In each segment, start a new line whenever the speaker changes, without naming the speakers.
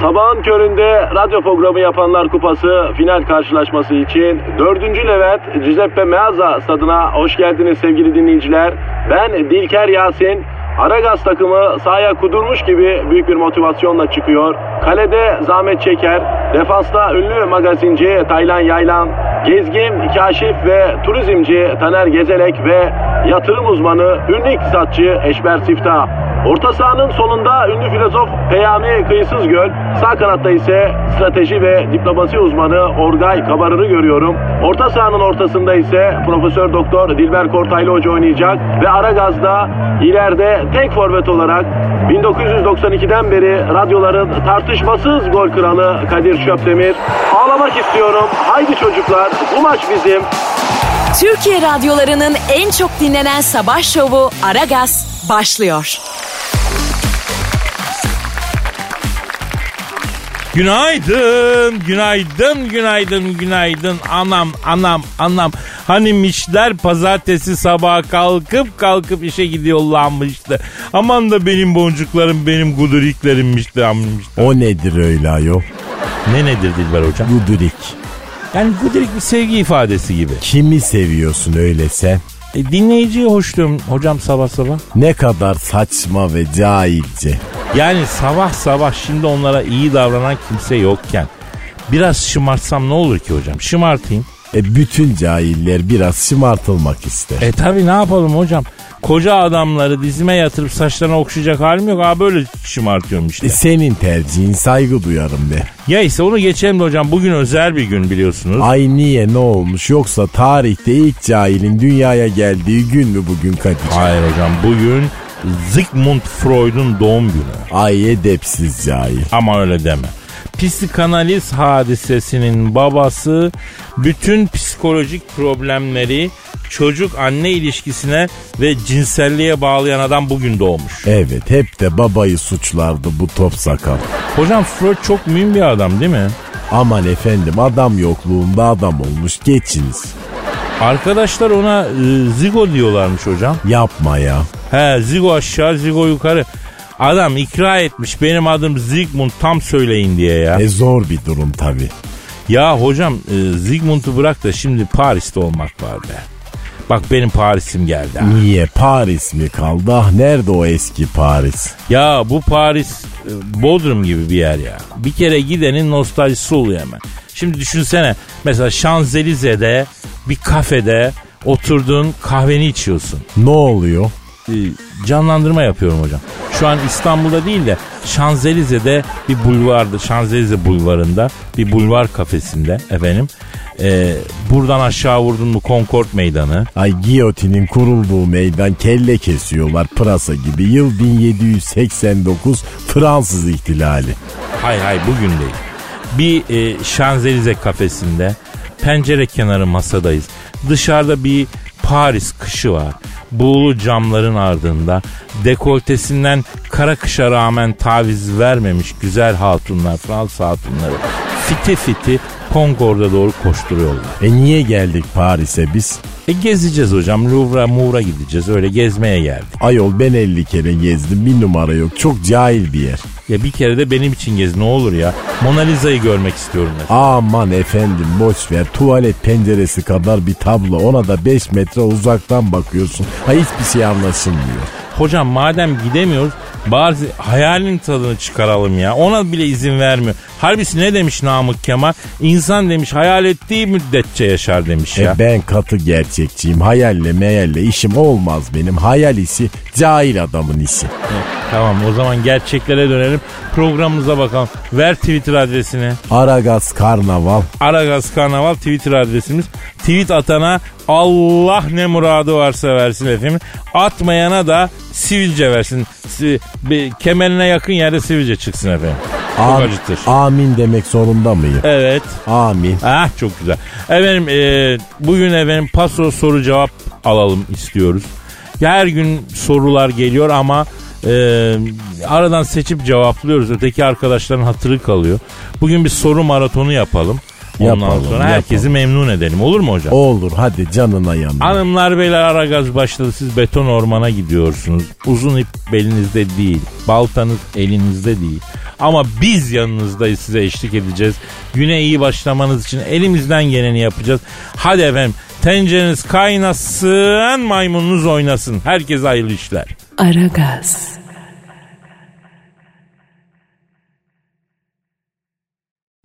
Sabahın köründe radyo programı yapanlar kupası final karşılaşması için 4. Levent Giuseppe Meazza stadına hoş geldiniz sevgili dinleyiciler. Ben Dilker Yasin. Aragaz takımı sahaya kudurmuş gibi büyük bir motivasyonla çıkıyor. Kalede zahmet çeker. Defansta ünlü magazinci Taylan Yaylan, gezgin, kaşif ve turizmci Taner Gezelek ve yatırım uzmanı, ünlü iktisatçı Eşber Siftah. Orta sahanın solunda ünlü filozof Peyami Kıyısız Göl, sağ kanatta ise strateji ve diplomasi uzmanı Orgay Kabarır'ı görüyorum. Orta sahanın ortasında ise Profesör Doktor Dilber Kortaylı Hoca oynayacak ve Aragaz'da ileride tek forvet olarak 1992'den beri radyoların tartışmasız gol kralı Kadir Şöpdemir. Ağlamak istiyorum. Haydi çocuklar bu maç bizim.
Türkiye radyolarının en çok dinlenen sabah şovu Aragaz başlıyor.
Günaydın, günaydın, günaydın, günaydın. Anam, anam, anam. Hani mişler pazartesi sabah kalkıp kalkıp işe gidiyorlarmıştı. Aman da benim boncuklarım, benim guduriklerimmişti ammıştı.
O nedir öyle ayol?
Ne nedir Dilber hocam?
Gudurik.
Yani gudurik bir sevgi ifadesi gibi.
Kimi seviyorsun öylese?
E, dinleyiciye hoşluyorum hocam sabah sabah.
Ne kadar saçma ve cahilce.
Yani sabah sabah şimdi onlara iyi davranan kimse yokken biraz şımartsam ne olur ki hocam? Şımartayım.
E bütün cahiller biraz şımartılmak ister.
E tabi ne yapalım hocam? Koca adamları dizime yatırıp saçlarına okşayacak halim yok. Abi böyle şımartıyorum işte.
E, senin tercihin saygı duyarım be.
Ya ise onu geçelim de hocam. Bugün özel bir gün biliyorsunuz.
Ay niye ne olmuş yoksa tarihte ilk cahilin dünyaya geldiği gün mü bugün Kadir?
Hayır hocam bugün Sigmund Freud'un doğum günü.
Ay edepsiz cahil.
Ama öyle deme. Psikanaliz hadisesinin babası bütün psikolojik problemleri çocuk anne ilişkisine ve cinselliğe bağlayan adam bugün doğmuş.
Evet hep de babayı suçlardı bu top sakal.
Hocam Freud çok mühim bir adam değil mi?
Aman efendim adam yokluğunda adam olmuş geçiniz.
Arkadaşlar ona e, zigo diyorlarmış hocam.
Yapma ya.
He zigo aşağı zigo yukarı. Adam ikra etmiş benim adım Zygmunt tam söyleyin diye ya.
E zor bir durum tabi.
Ya hocam e, Zygmunt'u bırak da şimdi Paris'te olmak var be. Bak benim Paris'im geldi. ha.
Niye Paris mi kaldı? Ah nerede o eski Paris?
Ya bu Paris e, Bodrum gibi bir yer ya. Bir kere gidenin nostaljisi oluyor hemen. Şimdi düşünsene mesela Şanzelize'de bir kafede oturdun kahveni içiyorsun.
Ne oluyor?
E, canlandırma yapıyorum hocam. Şu an İstanbul'da değil de Şanzelize'de bir bulvarda, Şanzelize bulvarında bir bulvar kafesinde efendim. E, buradan aşağı vurdun mu Concord Meydanı.
Ay giyotinin kurulduğu meydan kelle kesiyorlar pırasa gibi. Yıl 1789 Fransız ihtilali.
Hay hay bugün değil. Bir e, Şanzelize kafesinde pencere kenarı masadayız. Dışarıda bir Paris kışı var. Buğulu camların ardında dekoltesinden kara kışa rağmen taviz vermemiş güzel hatunlar, Fransız hatunları fiti fiti Concord'a doğru koşturuyorlar.
E niye geldik Paris'e biz?
E gezeceğiz hocam. Louvre'a, Mouvre'a gideceğiz. Öyle gezmeye geldik.
Ayol ben 50 kere gezdim bir numara yok. Çok cahil bir yer.
Ya bir kere de benim için gez ne olur ya. Mona Lisa'yı görmek istiyorum ben.
Aman efendim boş ver tuvalet penceresi kadar bir tablo ona da 5 metre uzaktan bakıyorsun. Ha hiçbir şey anlaşılmıyor.
Hocam madem gidemiyoruz bazı hayalin tadını çıkaralım ya. Ona bile izin vermiyor. Harbisi ne demiş Namık Kemal? İnsan demiş hayal ettiği müddetçe yaşar demiş ya.
E ben katı gerçekçiyim. Hayalle meyalle işim olmaz benim. Hayal işi cahil adamın işi.
Tamam o zaman gerçeklere dönelim. Programımıza bakalım. Ver Twitter adresini.
Aragaz karnaval.
Aragaz Karnaval Twitter adresimiz. Tweet atana Allah ne muradı varsa versin efendim. Atmayana da sivilce versin. Si- bir kemerine yakın yerde sivilce çıksın efendim. Çok
Am-
acıtır.
amin demek zorunda mıyım?
Evet.
Amin.
Ah çok güzel. Efendim e, bugün efendim paso soru cevap alalım istiyoruz. Her gün sorular geliyor ama e, aradan seçip cevaplıyoruz. Öteki arkadaşların hatırı kalıyor. Bugün bir soru maratonu yapalım. Ondan
Yapalım,
sonra herkesi memnun edelim. Olur mu hocam?
Olur hadi canına yanma.
Hanımlar beyler ara gaz başladı. Siz beton ormana gidiyorsunuz. Uzun ip belinizde değil. Baltanız elinizde değil. Ama biz yanınızdayız size eşlik edeceğiz. Güne iyi başlamanız için elimizden geleni yapacağız. Hadi efendim tencereniz kaynasın maymununuz oynasın. Herkese hayırlı işler.
Aragaz,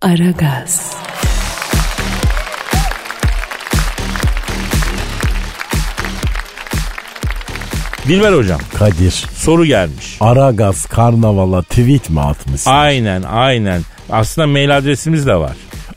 Aragaz,
Dilber hocam
Kadir.
soru gelmiş.
Aragaz Karnaval'a tweet mi atmışsın?
Aynen aynen. Aslında mail adresimiz de var.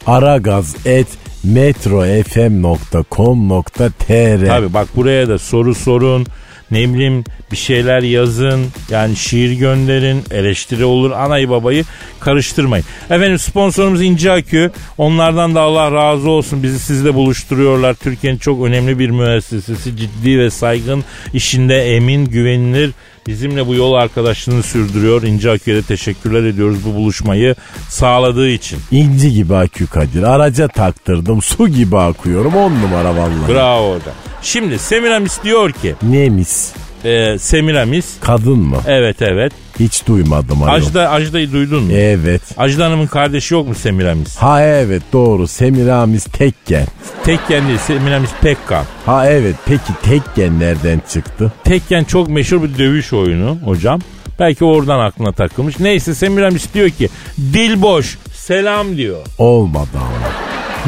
Aragaz et metrofm.com.tr
Tabii bak buraya da soru sorun. Ne bileyim bir şeyler yazın. Yani şiir gönderin. Eleştiri olur. Anayı babayı karıştırmayın. Efendim sponsorumuz İnce Akü. Onlardan da Allah razı olsun. Bizi sizle buluşturuyorlar. Türkiye'nin çok önemli bir müessesesi. Ciddi ve saygın. işinde emin, güvenilir. Bizimle bu yol arkadaşlığını sürdürüyor. İnce Akü'ye de teşekkürler ediyoruz bu buluşmayı sağladığı için.
İnci gibi akü Kadir. Araca taktırdım. Su gibi akıyorum. On numara vallahi.
Bravo orada. Şimdi Semiramis diyor ki
Nemis.
e, Semiramis
Kadın mı?
Evet evet.
Hiç duymadım. ayol.
Ajda, Ajda'yı duydun mu?
Evet.
Ajda Hanım'ın kardeşi yok mu Semiramis?
Ha evet doğru. Semiramis Tekken.
Tekken değil Semiramis Pekkan.
Ha evet peki Tekken nereden çıktı?
Tekken çok meşhur bir dövüş oyunu hocam. Belki oradan aklına takılmış. Neyse Semiramis diyor ki dil boş selam diyor.
Olmadı ama.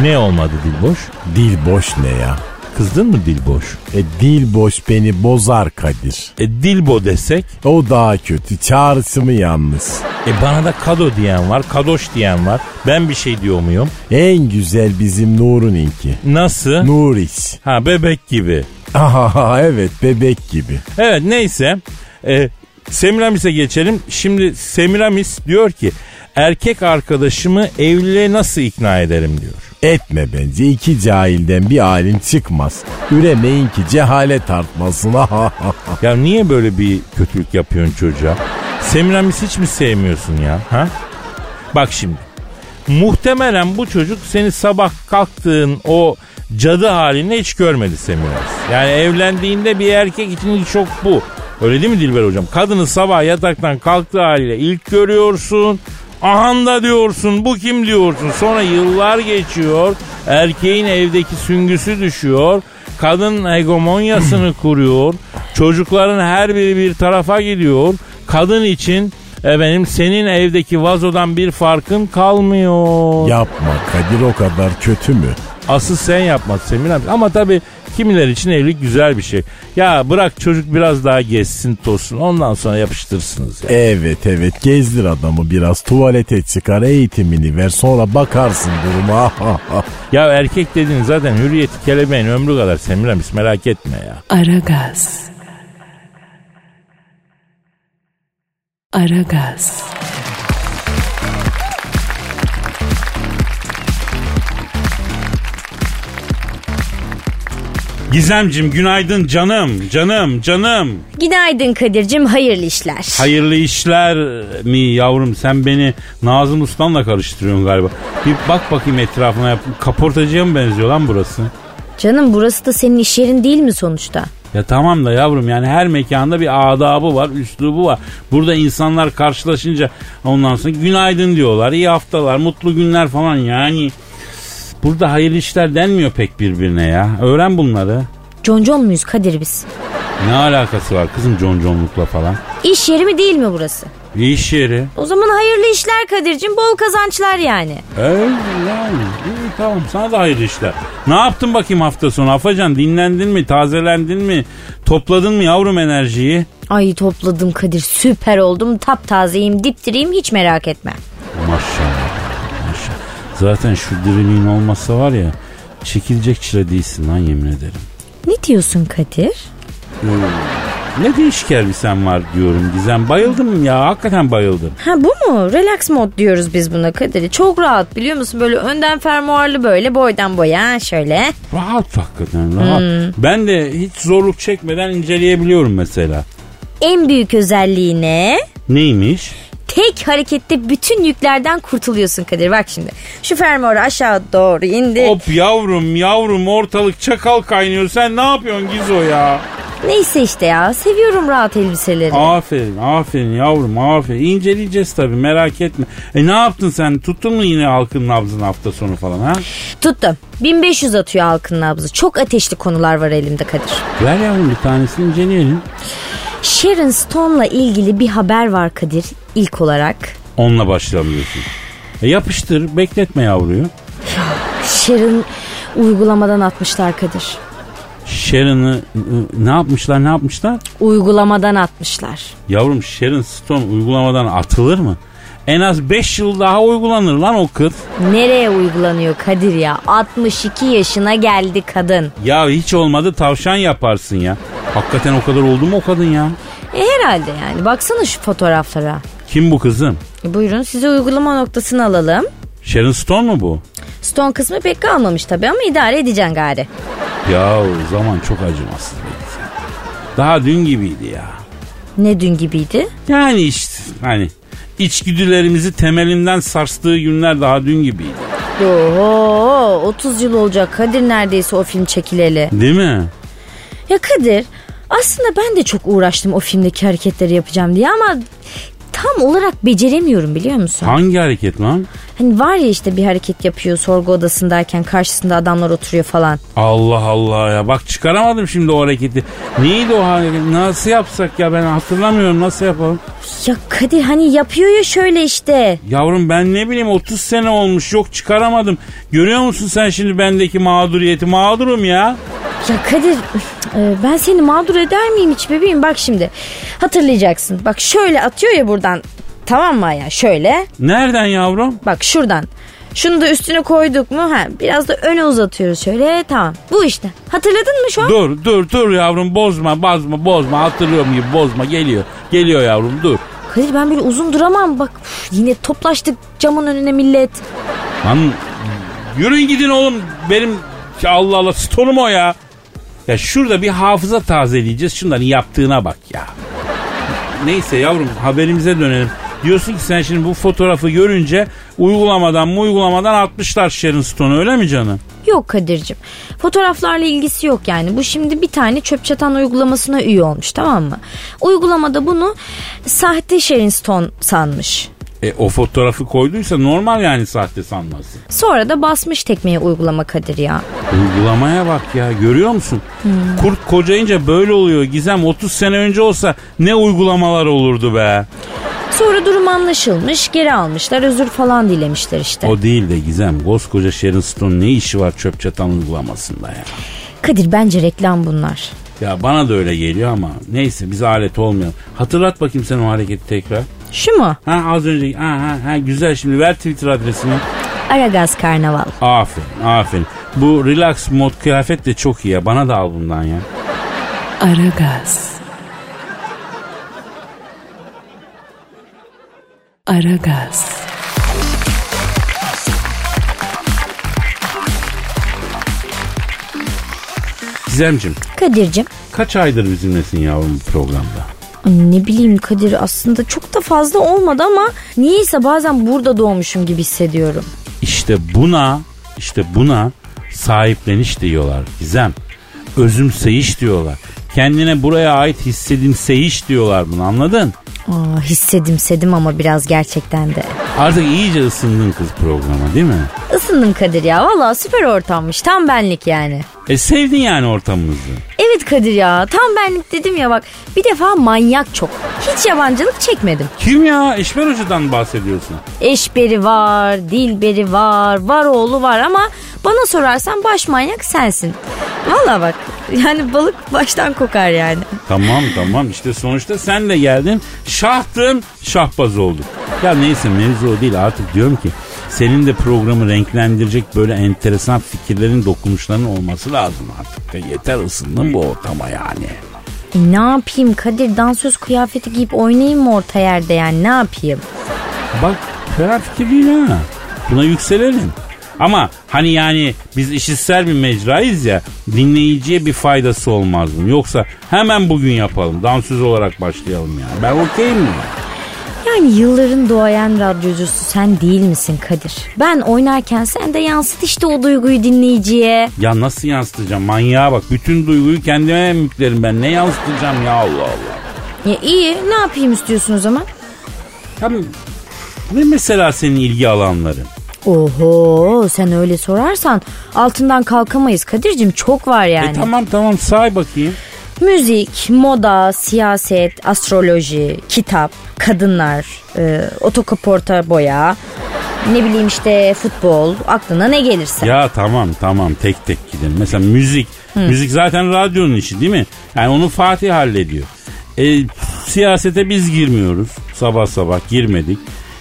Ne olmadı dil boş?
Dil boş ne ya?
Kızdın mı dil boş?
E dil boş beni bozar Kadir.
E, Dilbo desek
O daha kötü. Çağrısı mı yalnız?
e, bana da kado diyen var kadoş diyen var. Ben bir şey diyor muyum?
En güzel bizim Nur'uninki.
Nasıl?
Nuris.
Ha bebek gibi.
Aha evet bebek gibi.
Evet neyse. Ee, Semiramis'e geçelim. Şimdi Semiramis diyor ki erkek arkadaşımı evliliğe nasıl ikna ederim diyor.
Etme bence iki cahilden bir alim çıkmaz. Üremeyin ki cehalet artmasın.
Ya niye böyle bir kötülük yapıyorsun çocuğa? Semiramis hiç mi sevmiyorsun ya? Ha? Bak şimdi. Muhtemelen bu çocuk seni sabah kalktığın o cadı halini hiç görmedi Semiramis. Yani evlendiğinde bir erkek için ilk şok bu. Öyle değil mi Dilber hocam? Kadını sabah yataktan kalktığı haliyle ilk görüyorsun. Ahanda diyorsun bu kim diyorsun. Sonra yıllar geçiyor. Erkeğin evdeki süngüsü düşüyor. Kadın hegemonyasını kuruyor. Çocukların her biri bir tarafa gidiyor. Kadın için Efendim senin evdeki vazodan bir farkın kalmıyor.
Yapma Kadir o kadar kötü mü?
Asıl sen yapma Semir abi. Ama tabii kimiler için evlilik güzel bir şey. Ya bırak çocuk biraz daha gezsin tozsun ondan sonra yapıştırırsınız. Ya.
Evet evet gezdir adamı biraz tuvalete çıkar eğitimini ver sonra bakarsın duruma.
ya erkek dediğin zaten hürriyeti kelebeğin ömrü kadar Semir abi merak etme ya.
Aragaz, Aragaz,
Gizemcim günaydın canım canım canım.
Günaydın Kadir'cim hayırlı işler.
Hayırlı işler mi yavrum sen beni Nazım Usta'nla karıştırıyorsun galiba. Bir bak bakayım etrafına yap. Kaportacıya mı benziyor lan burası?
Canım burası da senin iş yerin değil mi sonuçta?
Ya tamam da yavrum yani her mekanda bir adabı var, üslubu var. Burada insanlar karşılaşınca ondan sonra günaydın diyorlar, iyi haftalar, mutlu günler falan yani. Burada hayırlı işler denmiyor pek birbirine ya. Öğren bunları.
Concon muyuz Kadir biz?
Ne alakası var kızım conconlukla falan?
İş yeri mi değil mi burası?
İş yeri.
O zaman hayırlı işler Kadir'cim bol kazançlar yani.
Öyle yani. İyi, tamam sana da hayırlı işler. Ne yaptın bakayım hafta sonu Afacan? Dinlendin mi? Tazelendin mi? Topladın mı yavrum enerjiyi?
Ay topladım Kadir süper oldum taptazeyim dipdiriyim hiç merak etme.
Maşallah. Maşallah. Zaten şu diriliğin olmazsa var ya çekilecek çile değilsin lan yemin ederim.
Ne diyorsun Kadir?
Ne değişik elbisen var diyorum Gizem. Bayıldım ya hakikaten bayıldım.
Ha bu mu? Relax mod diyoruz biz buna Kadir'i. Çok rahat biliyor musun? Böyle önden fermuarlı böyle boydan boya şöyle.
Rahat hakikaten rahat. Ben de hiç zorluk çekmeden inceleyebiliyorum mesela.
En büyük özelliği ne?
Neymiş?
Tek harekette bütün yüklerden kurtuluyorsun Kadir. Bak şimdi şu fermuarı aşağı doğru indir.
Hop yavrum yavrum ortalık çakal kaynıyor. Sen ne yapıyorsun Gizo ya?
Neyse işte ya seviyorum rahat elbiseleri.
Aferin aferin yavrum aferin. İnceleyeceğiz tabii merak etme. E ne yaptın sen tuttun mu yine halkın nabzını hafta sonu falan ha?
Tuttum. 1500 atıyor halkın nabzı. Çok ateşli konular var elimde Kadir.
Ver yavrum bir tanesini inceleyelim.
Sharon Stone'la ilgili bir haber var Kadir ilk olarak.
Onunla başlamıyorsun. E yapıştır bekletme yavruyu.
Sharon uygulamadan atmışlar Kadir.
Sharon'ı ı, ne yapmışlar ne yapmışlar?
Uygulamadan atmışlar.
Yavrum Sharon Stone uygulamadan atılır mı? En az 5 yıl daha uygulanır lan o kız.
Nereye uygulanıyor Kadir ya? 62 yaşına geldi kadın.
Ya hiç olmadı tavşan yaparsın ya. Hakikaten o kadar oldu mu o kadın ya?
E herhalde yani. Baksana şu fotoğraflara.
Kim bu kızım?
E buyurun size uygulama noktasını alalım.
Sharon Stone mu bu?
Stone kısmı pek kalmamış tabii ama idare edeceksin gari.
Ya zaman çok acımasız bir insan. Daha dün gibiydi ya.
Ne dün gibiydi?
Yani işte hani içgüdülerimizi temelinden sarstığı günler daha dün gibiydi.
Oho 30 yıl olacak Kadir neredeyse o film çekileli.
Değil mi?
Ya Kadir aslında ben de çok uğraştım o filmdeki hareketleri yapacağım diye ama tam olarak beceremiyorum biliyor musun?
Hangi hareket lan?
Hani var ya işte bir hareket yapıyor sorgu odasındayken karşısında adamlar oturuyor falan.
Allah Allah ya bak çıkaramadım şimdi o hareketi. Neydi o hareket? Nasıl yapsak ya ben hatırlamıyorum nasıl yapalım?
Ya Kadir hani yapıyor ya şöyle işte.
Yavrum ben ne bileyim 30 sene olmuş yok çıkaramadım. Görüyor musun sen şimdi bendeki mağduriyeti? Mağdurum ya.
Ya Kadir e, ben seni mağdur eder miyim hiç bebeğim? Bak şimdi hatırlayacaksın. Bak şöyle atıyor ya buradan. Tamam mı ya şöyle.
Nereden yavrum?
Bak şuradan. Şunu da üstüne koyduk mu? Ha, biraz da öne uzatıyoruz şöyle. Tamam. Bu işte. Hatırladın mı şu an?
Dur dur dur yavrum bozma bozma bozma hatırlıyorum gibi bozma geliyor. Geliyor yavrum dur.
Kadir ben böyle uzun duramam. Bak üf, yine toplaştık camın önüne millet.
Lan yürüyün gidin oğlum benim Ya Allah Allah stonum o ya. Ya şurada bir hafıza tazeleyeceğiz şunların yaptığına bak ya. Neyse yavrum haberimize dönelim. Diyorsun ki sen şimdi bu fotoğrafı görünce uygulamadan mu uygulamadan atmışlar Sharon Stone'u öyle mi canım?
Yok Kadir'cim. Fotoğraflarla ilgisi yok yani. Bu şimdi bir tane çöp çatan uygulamasına üye olmuş tamam mı? Uygulamada bunu sahte Sharon Stone sanmış.
E o fotoğrafı koyduysa normal yani sahte sanması.
Sonra da basmış tekmeye uygulama Kadir ya.
Uygulamaya bak ya görüyor musun? Kurt kocayınca böyle oluyor Gizem 30 sene önce olsa ne uygulamalar olurdu be.
Sonra durum anlaşılmış geri almışlar özür falan dilemişler işte.
O değil de Gizem. Koskoca Sharon Stone ne işi var çöp çatan uygulamasında ya?
Kadir bence reklam bunlar.
Ya bana da öyle geliyor ama neyse biz alet olmayalım. Hatırlat bakayım sen o hareketi tekrar.
Şu mu?
Ha az önce ha ha ha güzel şimdi ver Twitter adresini.
Aragaz Karnaval.
Aferin aferin. Bu relax mod kıyafet de çok iyi ya. Bana da al bundan ya.
Aragaz. Aragaz.
Gizemcim
Kadir'cim
kaç aydır bizimlesin yavrum bu programda?
ay ne bileyim Kadir aslında çok da fazla olmadı ama niyeyse bazen burada doğmuşum gibi hissediyorum.
İşte buna, işte buna sahipleniş diyorlar Gizem. Özümseyiş diyorlar. Kendine buraya ait hissedimseyiş diyorlar bunu anladın?
Aa, Ah, hissedim sedim ama biraz gerçekten de.
Artık iyice ısındın kız programa değil mi?
Isındım Kadir ya valla süper ortammış tam benlik yani.
E sevdin yani ortamımızı.
Evet Kadir ya tam benlik dedim ya bak bir defa manyak çok. Hiç yabancılık çekmedim.
Kim ya? Eşmer Hoca'dan bahsediyorsun.
Eşberi var, Dilberi var, var oğlu var ama bana sorarsan baş manyak sensin. Valla bak yani balık baştan kokar yani.
Tamam tamam işte sonuçta sen de geldin. Şahtın şahbaz oldun. Ya neyse mevzu o değil artık diyorum ki senin de programı renklendirecek böyle enteresan fikirlerin dokunuşların olması lazım artık. Ya yeter ısındın bu ortama yani.
E ne yapayım Kadir dansöz kıyafeti giyip oynayayım mı orta yerde yani ne yapayım?
Bak fena fikir değil ha. Buna yükselelim. Ama hani yani biz işitsel bir mecrayız ya dinleyiciye bir faydası olmaz mı? Yoksa hemen bugün yapalım. Dansöz olarak başlayalım yani. Ben okeyim mi?
Ya Yani yılların doğayan radyocusu sen değil misin Kadir? Ben oynarken sen de yansıt işte o duyguyu dinleyiciye.
Ya nasıl yansıtacağım manyağa bak. Bütün duyguyu kendime yüklerim ben. Ne yansıtacağım ya Allah Allah.
Ya iyi ne yapayım istiyorsun o zaman?
Tamam. Ne mesela senin ilgi alanların?
Oho sen öyle sorarsan altından kalkamayız Kadir'cim çok var yani.
E tamam tamam say bakayım.
Müzik, moda, siyaset, astroloji, kitap, kadınlar, e, otokaporta boya, ne bileyim işte futbol, aklına ne gelirse.
Ya tamam tamam tek tek gidelim. Mesela müzik. Müzik zaten radyonun işi değil mi? Yani onu Fatih hallediyor. E, siyasete biz girmiyoruz. Sabah sabah girmedik.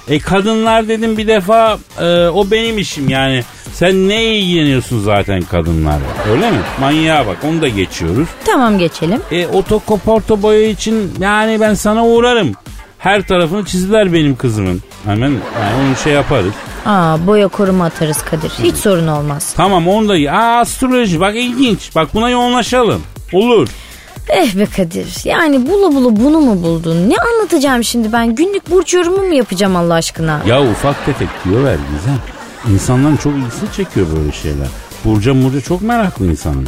E kadınlar dedim bir defa e, o benim işim yani. Sen ne ilgileniyorsun zaten kadınlarla öyle mi? Manyağa bak onu da geçiyoruz.
Tamam geçelim.
E otokoporto boya için yani ben sana uğrarım. Her tarafını çizdiler benim kızımın. Hemen yani onu şey yaparız.
Aa boya koruma atarız Kadir. Hiç sorun olmaz.
Tamam onu da... Aa astroloji bak ilginç. Bak buna yoğunlaşalım. Olur.
Eh be Kadir. Yani bulu bulu bunu mu buldun? Ne anlatacağım şimdi ben? Günlük burç yorumu mu yapacağım Allah aşkına?
Ya ufak tefek diyorlar Gizem. İnsanların çok ilgisini çekiyor böyle şeyler. Burca murca çok meraklı insanlar.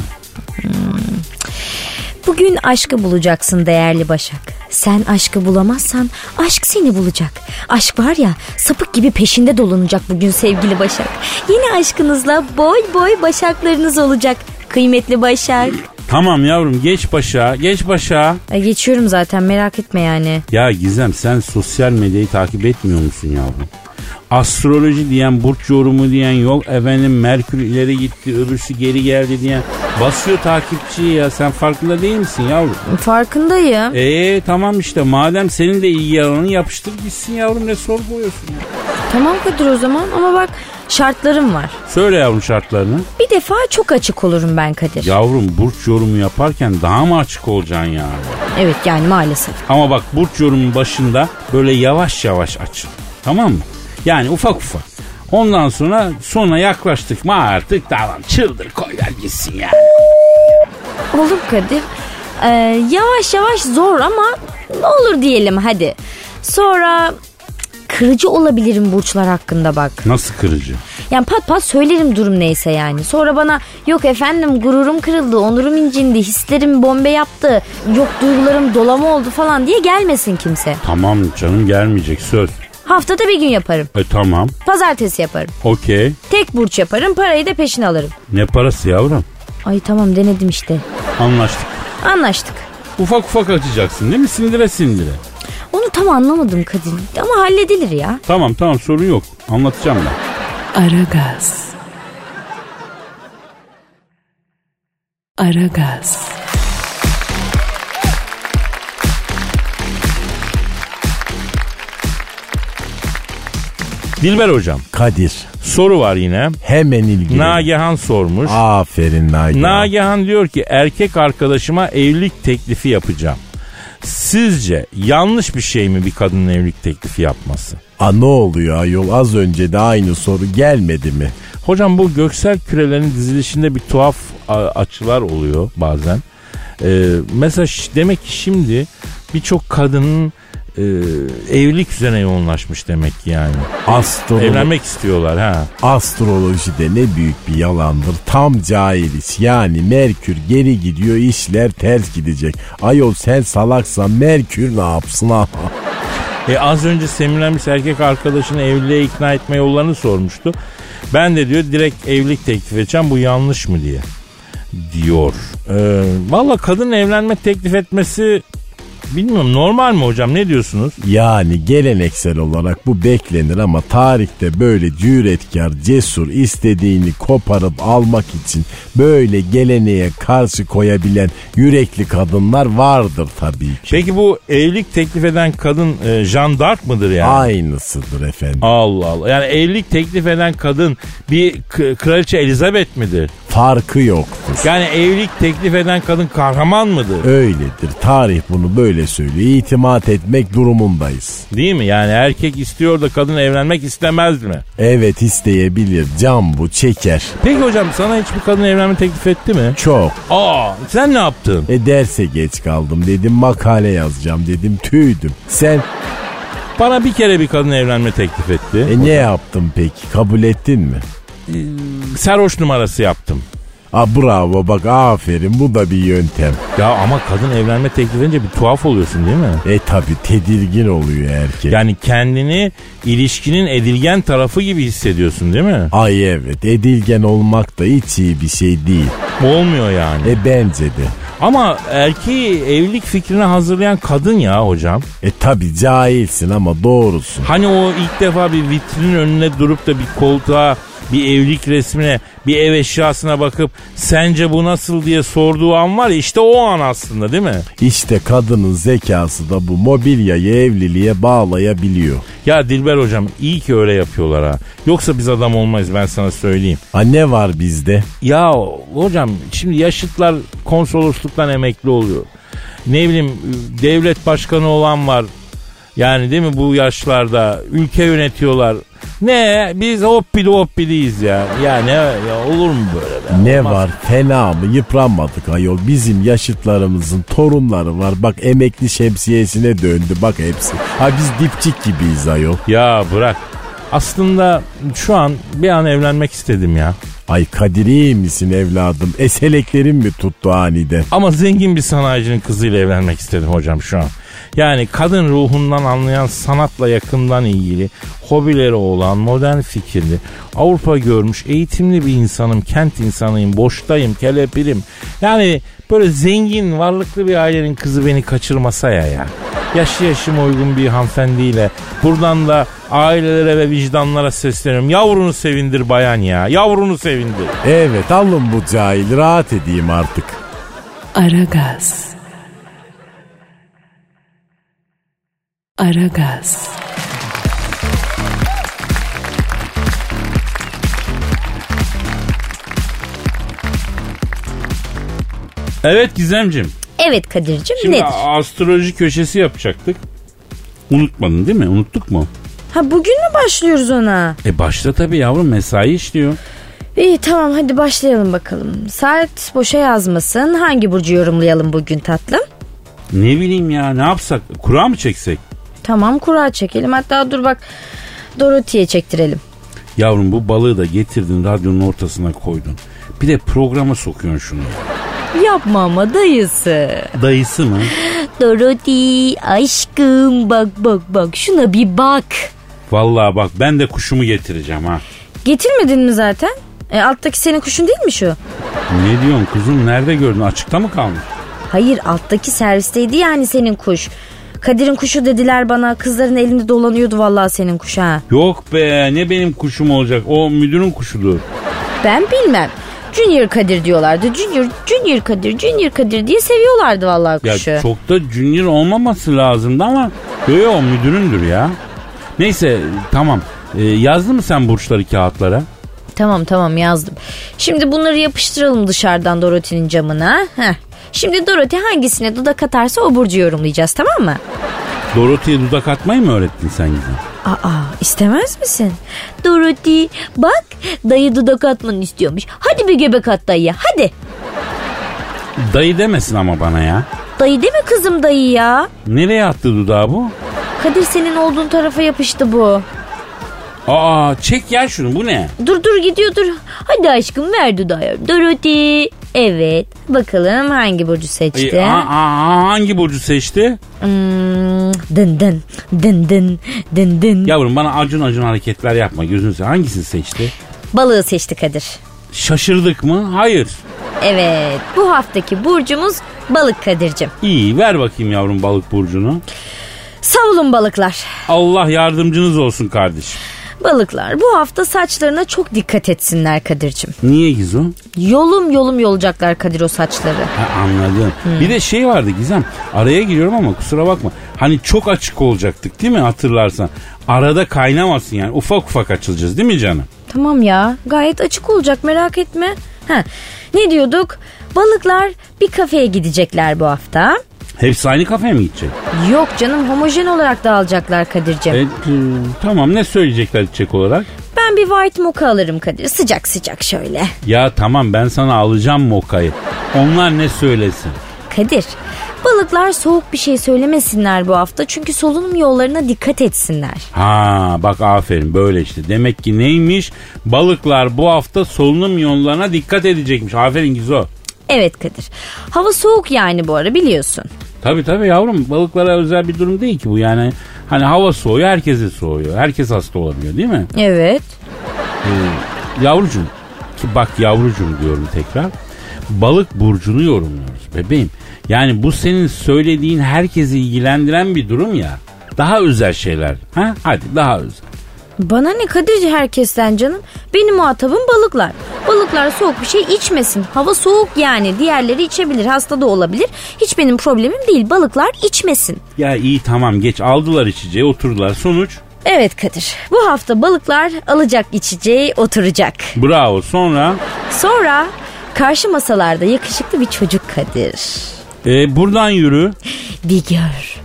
Bugün aşkı bulacaksın değerli Başak. Sen aşkı bulamazsan aşk seni bulacak. Aşk var ya sapık gibi peşinde dolanacak bugün sevgili Başak. Yeni aşkınızla boy boy başaklarınız olacak. Kıymetli Başak.
Tamam yavrum geç başa geç başa.
Ay, geçiyorum zaten merak etme yani.
Ya Gizem sen sosyal medyayı takip etmiyor musun yavrum? Astroloji diyen, burç yorumu diyen yok. Efendim Merkür ileri gitti, öbürsü geri geldi diyen. Basıyor takipçiyi ya. Sen farkında değil misin yavrum?
E-
Farkındayım.
Eee tamam işte madem senin de ilgi alanını yapıştır gitsin yavrum ne sorguluyorsun? ya?
Tamam Kadir o zaman ama bak şartlarım var.
Söyle yavrum şartlarını.
Bir defa çok açık olurum ben Kadir.
Yavrum burç yorumu yaparken daha mı açık olacaksın ya?
Evet yani maalesef.
Ama bak burç yorumun başında böyle yavaş yavaş açın. Tamam mı? Yani ufak ufak. Ondan sonra sona yaklaştık mı artık tamam çıldır koy ver gitsin ya.
Olur Kadir. Ee, yavaş yavaş zor ama ne olur diyelim hadi. Sonra kırıcı olabilirim burçlar hakkında bak.
Nasıl kırıcı?
Yani pat pat söylerim durum neyse yani. Sonra bana yok efendim gururum kırıldı, onurum incindi, hislerim bombe yaptı, yok duygularım dolama oldu falan diye gelmesin kimse.
Tamam canım gelmeyecek söz.
Haftada bir gün yaparım.
E tamam
Pazartesi yaparım.
okey.
Tek burç yaparım, parayı da peşin alırım.
Ne parası yavrum?
Ay tamam denedim işte.
Anlaştık.
Anlaştık.
Ufak ufak açacaksın değil mi? Sindire sindire.
Onu tam anlamadım Kadir ama halledilir ya.
Tamam tamam sorun yok. Anlatacağım ben.
Aragaz. Aragaz.
Dilber hocam
Kadir
soru var yine.
hemen ilgili.
Nagihan sormuş.
Aferin Nagihan.
Nagihan diyor ki erkek arkadaşıma evlilik teklifi yapacağım. Sizce yanlış bir şey mi bir kadının evlilik teklifi yapması?
Aa, ne oluyor ayol az önce de aynı soru gelmedi mi?
Hocam bu göksel kürelerin dizilişinde bir tuhaf a- açılar oluyor bazen. Ee, mesela ş- demek ki şimdi birçok kadının e, evlilik üzerine yoğunlaşmış demek ki yani.
Astroloji,
Evlenmek istiyorlar ha.
astrolojide ne büyük bir yalandır. Tam cahiliz. Yani Merkür geri gidiyor işler ters gidecek. Ayol sen salaksan Merkür ne yapsın ha?
E az önce Semiramis erkek arkadaşını evliliğe ikna etme yollarını sormuştu. Ben de diyor direkt evlilik teklif edeceğim bu yanlış mı diye diyor. Ee, Valla kadın evlenme teklif etmesi bilmiyorum normal mi hocam ne diyorsunuz?
Yani geleneksel olarak bu beklenir ama tarihte böyle cüretkar, cesur istediğini koparıp almak için böyle geleneğe karşı koyabilen yürekli kadınlar vardır tabii ki.
Peki bu evlilik teklif eden kadın e, Jean d'Arc mıdır yani?
Aynısıdır efendim.
Allah Allah. Yani evlilik teklif eden kadın bir k- kraliçe Elizabeth midir?
Farkı yoktur.
Yani evlilik teklif eden kadın kahraman mıdır?
Öyledir. Tarih bunu böyle söylüyor. İtimat etmek durumundayız.
Değil mi? Yani erkek istiyor da kadın evlenmek istemez mi?
Evet isteyebilir. Can bu çeker.
Peki hocam sana hiçbir kadın evlenme teklif etti mi?
Çok.
Aa sen ne yaptın?
E derse geç kaldım dedim makale yazacağım dedim tüydüm. Sen
Bana bir kere bir kadın evlenme teklif etti.
E ne yaptın peki? Kabul ettin mi?
Serhoş numarası yaptım.
A bravo bak aferin bu da bir yöntem.
Ya ama kadın evlenme teklif edince bir tuhaf oluyorsun değil mi?
E tabi tedirgin oluyor erkek.
Yani kendini ilişkinin edilgen tarafı gibi hissediyorsun değil mi?
Ay evet edilgen olmak da hiç iyi bir şey değil.
Olmuyor yani.
E bence de.
Ama erkeği evlilik fikrine hazırlayan kadın ya hocam.
E tabi cahilsin ama doğrusun.
Hani o ilk defa bir vitrinin önüne durup da bir koltuğa, bir evlilik resmine, bir ev eşyasına bakıp sence bu nasıl diye sorduğu an var ya işte o an aslında değil mi?
İşte kadının zekası da bu mobilyayı evliliğe bağlayabiliyor.
Ya Dilber hocam iyi ki öyle yapıyorlar ha. Yoksa biz adam olmayız ben sana söyleyeyim.
Ha ne var bizde?
Ya hocam şimdi yaşıtlar konsolosluktan emekli oluyor. Ne bileyim devlet başkanı olan var. Yani değil mi bu yaşlarda ülke yönetiyorlar. Ne biz hoppili hopbiliyiz ya. Ya ne ya olur mu böyle be?
Ne
Olmaz.
var fena mı yıpranmadık ayol bizim yaşıtlarımızın torunları var bak emekli şemsiyesine döndü bak hepsi. Ha biz dipçik gibiyiz ayol.
Ya bırak. Aslında şu an bir an evlenmek istedim ya.
Ay Kadir iyi misin evladım eseleklerin mi tuttu aniden?
Ama zengin bir sanayicinin kızıyla evlenmek istedim hocam şu an. Yani kadın ruhundan anlayan sanatla yakından ilgili, hobileri olan, modern fikirli, Avrupa görmüş, eğitimli bir insanım, kent insanıyım, boştayım, kelepirim. Yani böyle zengin, varlıklı bir ailenin kızı beni kaçırmasa ya ya. Yaşı yaşıma uygun bir hanımefendiyle buradan da ailelere ve vicdanlara sesleniyorum. Yavrunu sevindir bayan ya, yavrunu sevindir.
Evet alın bu cahil rahat edeyim artık.
Aragaz. Aragaz.
Evet Gizemcim.
Evet Kadir'cim
Şimdi
nedir?
astroloji köşesi yapacaktık. Unutmadın değil mi? Unuttuk mu?
Ha bugün mü başlıyoruz ona?
E başta tabii yavrum mesai işliyor.
İyi tamam hadi başlayalım bakalım. Saat boşa yazmasın. Hangi burcu yorumlayalım bugün tatlım?
Ne bileyim ya ne yapsak? Kura mı çeksek?
Tamam kura çekelim. Hatta dur bak Dorothy'ye çektirelim.
Yavrum bu balığı da getirdin radyonun ortasına koydun. Bir de programa sokuyorsun şunu.
Yapma ama dayısı.
Dayısı mı?
Dorothy aşkım bak bak bak şuna bir bak.
Vallahi bak ben de kuşumu getireceğim ha.
Getirmedin mi zaten? E, alttaki senin kuşun değil mi şu?
Ne diyorsun kuzum nerede gördün açıkta mı kalmış?
Hayır alttaki servisteydi yani senin kuş. Kadir'in kuşu dediler bana. Kızların elinde dolanıyordu vallahi senin kuş ha.
Yok be ne benim kuşum olacak o müdürün kuşudur.
Ben bilmem. Junior Kadir diyorlardı. Junior, Junior Kadir, Junior Kadir diye seviyorlardı vallahi
Ya
kuşu.
çok da junior olmaması lazımdı ama yo yo müdüründür ya. Neyse tamam Ee, yazdın mı sen burçları kağıtlara?
Tamam tamam yazdım. Şimdi bunları yapıştıralım dışarıdan Dorothy'nin camına. Heh. Şimdi Dorothy hangisine dudak atarsa o burcu yorumlayacağız tamam mı?
Dorothy'ye dudak atmayı mı öğrettin sen Gizem?
Aa istemez misin? Dorothy bak dayı dudak atmanı istiyormuş. Hadi bir göbek at dayıya hadi.
Dayı demesin ama bana ya.
Dayı deme kızım dayı ya.
Nereye attı dudağı bu?
Kadir senin olduğun tarafa yapıştı bu.
Aa çek ya şunu bu ne?
Dur dur gidiyor dur. Hadi aşkım ver dudağı. Dorothy. Evet. Bakalım hangi burcu seçti?
Ee, a- a- a- hangi burcu seçti?
Hmm, dın dın dın dın dın dın.
Yavrum bana acun acun hareketler yapma gözünü seveyim. Hangisini seçti?
Balığı seçti Kadir.
Şaşırdık mı? Hayır.
Evet bu haftaki burcumuz balık Kadir'cim.
İyi ver bakayım yavrum balık burcunu.
Savulun balıklar.
Allah yardımcınız olsun kardeşim.
Balıklar bu hafta saçlarına çok dikkat etsinler Kadir'cim.
Niye Gizu?
Yolum yolum yolacaklar Kadir o saçları.
Ha, anladım. Bir de şey vardı Gizem. Araya giriyorum ama kusura bakma. Hani çok açık olacaktık değil mi hatırlarsan? Arada kaynamasın yani. Ufak ufak açılacağız değil mi canım?
Tamam ya gayet açık olacak merak etme. Ha, ne diyorduk? Balıklar bir kafeye gidecekler bu hafta.
Hepsi aynı kafeye mi gidecek?
Yok canım homojen olarak dağılacaklar Kadir'cim.
E, e, tamam ne söyleyecekler içecek olarak?
Ben bir white mocha alırım Kadir sıcak sıcak şöyle.
Ya tamam ben sana alacağım mokayı. Onlar ne söylesin?
Kadir. Balıklar soğuk bir şey söylemesinler bu hafta çünkü solunum yollarına dikkat etsinler.
Ha bak aferin böyle işte. Demek ki neymiş? Balıklar bu hafta solunum yollarına dikkat edecekmiş. Aferin Gizo.
Evet Kadir. Hava soğuk yani bu ara biliyorsun.
Tabii tabii yavrum balıklara özel bir durum değil ki bu yani. Hani hava soğuyor herkese soğuyor. Herkes hasta olabiliyor değil mi?
Evet.
Yavrucuğum ki bak yavrucuğum diyorum tekrar. Balık burcunu yorumluyoruz bebeğim. Yani bu senin söylediğin herkesi ilgilendiren bir durum ya. Daha özel şeyler. Ha? Hadi daha özel.
Bana ne Kadir herkesten canım. Benim muhatabım balıklar. Balıklar soğuk bir şey içmesin. Hava soğuk yani. Diğerleri içebilir, hasta da olabilir. Hiç benim problemim değil. Balıklar içmesin.
Ya iyi tamam geç aldılar içeceği oturdular. Sonuç
Evet Kadir. Bu hafta balıklar alacak içeceği oturacak.
bravo sonra.
Sonra karşı masalarda yakışıklı bir çocuk Kadir.
E, buradan yürü.
Bir gör.